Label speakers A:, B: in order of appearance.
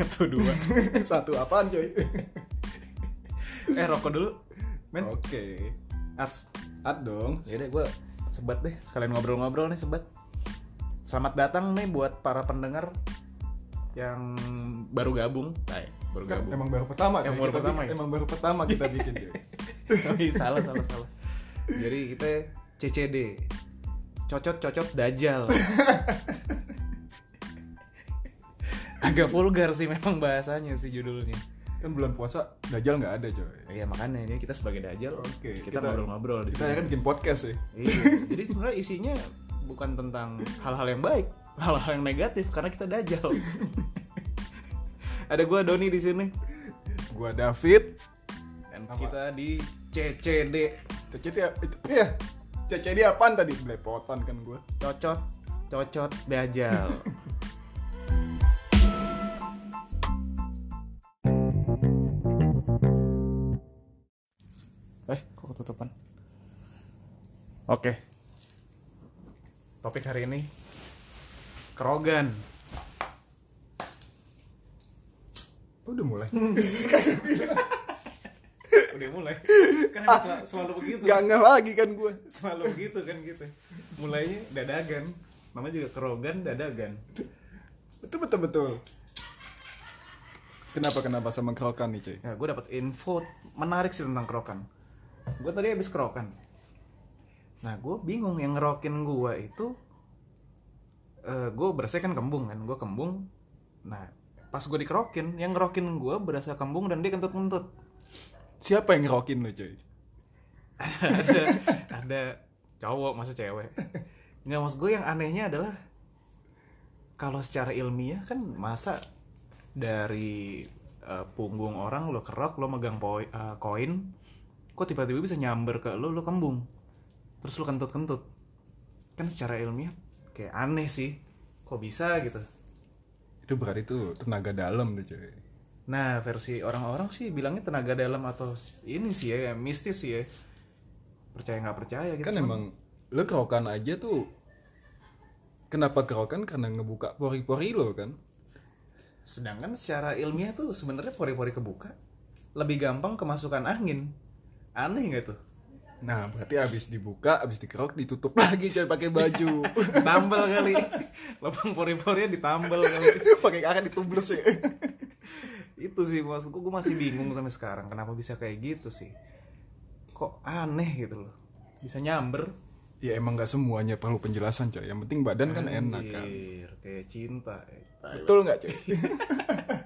A: satu dua
B: Satu apaan coy?
A: eh rokok dulu men
B: Oke.
A: ats
B: At dong.
A: yaudah gue Ya sebat deh sekalian ngobrol-ngobrol nih sebat selamat datang nih buat para pendengar yang baru gabung Tay, baru
B: Kan
A: gabung
B: emang baru pertama
A: Emang
B: coy.
A: baru
B: Kita
A: pertama
B: bikin-
A: ya?
B: Emang baru pertama kita bikin coy.
A: Ih, Iya, salah salah salah jadi kita CCD cocot cocot dajal agak vulgar sih memang bahasanya sih judulnya
B: Kan bulan puasa dajal nggak ada coy.
A: iya makanya ini kita sebagai dajal
B: Oke, kita-
A: kita ngobrol-ngobrol di
B: Kita
A: sini
B: kan bikin podcast sih.
A: Iya, jadi sebenarnya isinya bukan tentang hal-hal yang baik, hal-hal yang negatif karena kita dajal. Ada gua Doni di sini
B: Gua David.
A: dan kita di CCD
B: Cece dia itu ya. Cece dia apaan tadi? Belepotan kan gua.
A: cocot cocot dajal. eh, kok ketutupan? Oke. Topik hari ini kerogan.
B: Oh, udah mulai.
A: udah mulai kan emang sel- selalu begitu
B: Gak ngeh lagi kan gua.
A: selalu begitu kan gitu mulainya dadagan namanya juga kerogan dadagan
B: Betul betul betul. Kenapa kenapa sama kerokan nih cuy?
A: ya gue dapat info menarik sih tentang kerokan gue tadi habis kerokan nah gue bingung yang ngerokin gue itu gue berasnya kan kembung kan gue kembung nah pas gue dikerokin yang ngerokin gue berasa kembung dan dia kentut kentut
B: Siapa yang ngerokin lu cuy?
A: ada ada ada cowok masa cewek nggak maksud gue yang anehnya adalah kalau secara ilmiah kan masa dari eh, punggung orang lo kerok lo megang poi- eh, koin kok tiba-tiba bisa nyamber ke lo lo kembung terus lo kentut-kentut kan secara ilmiah kayak aneh sih kok bisa gitu
B: Itu berarti tuh tenaga dalam tuh cuy.
A: Nah, versi orang-orang sih bilangnya tenaga dalam atau ini sih ya, mistis sih ya. Percaya nggak percaya gitu.
B: Kan emang lu kerokan aja tuh Kenapa kerokan? Karena ngebuka pori-pori lo kan
A: Sedangkan secara ilmiah tuh sebenarnya pori-pori kebuka lebih gampang kemasukan angin. Aneh nggak tuh?
B: Nah berarti abis dibuka, abis dikerok, ditutup lagi coy pakai baju
A: Ditambal kali. Lubang pori-porinya ditambal kali.
B: Pakai karet ditubles ya
A: Itu sih maksud gue, gue masih bingung sampai sekarang kenapa bisa kayak gitu sih. Kok aneh gitu loh. Bisa nyamber.
B: Ya emang gak semuanya perlu penjelasan coy Yang penting badan kan enak kan
A: ya. Anjir, kayak cinta.
B: Betul gak coy?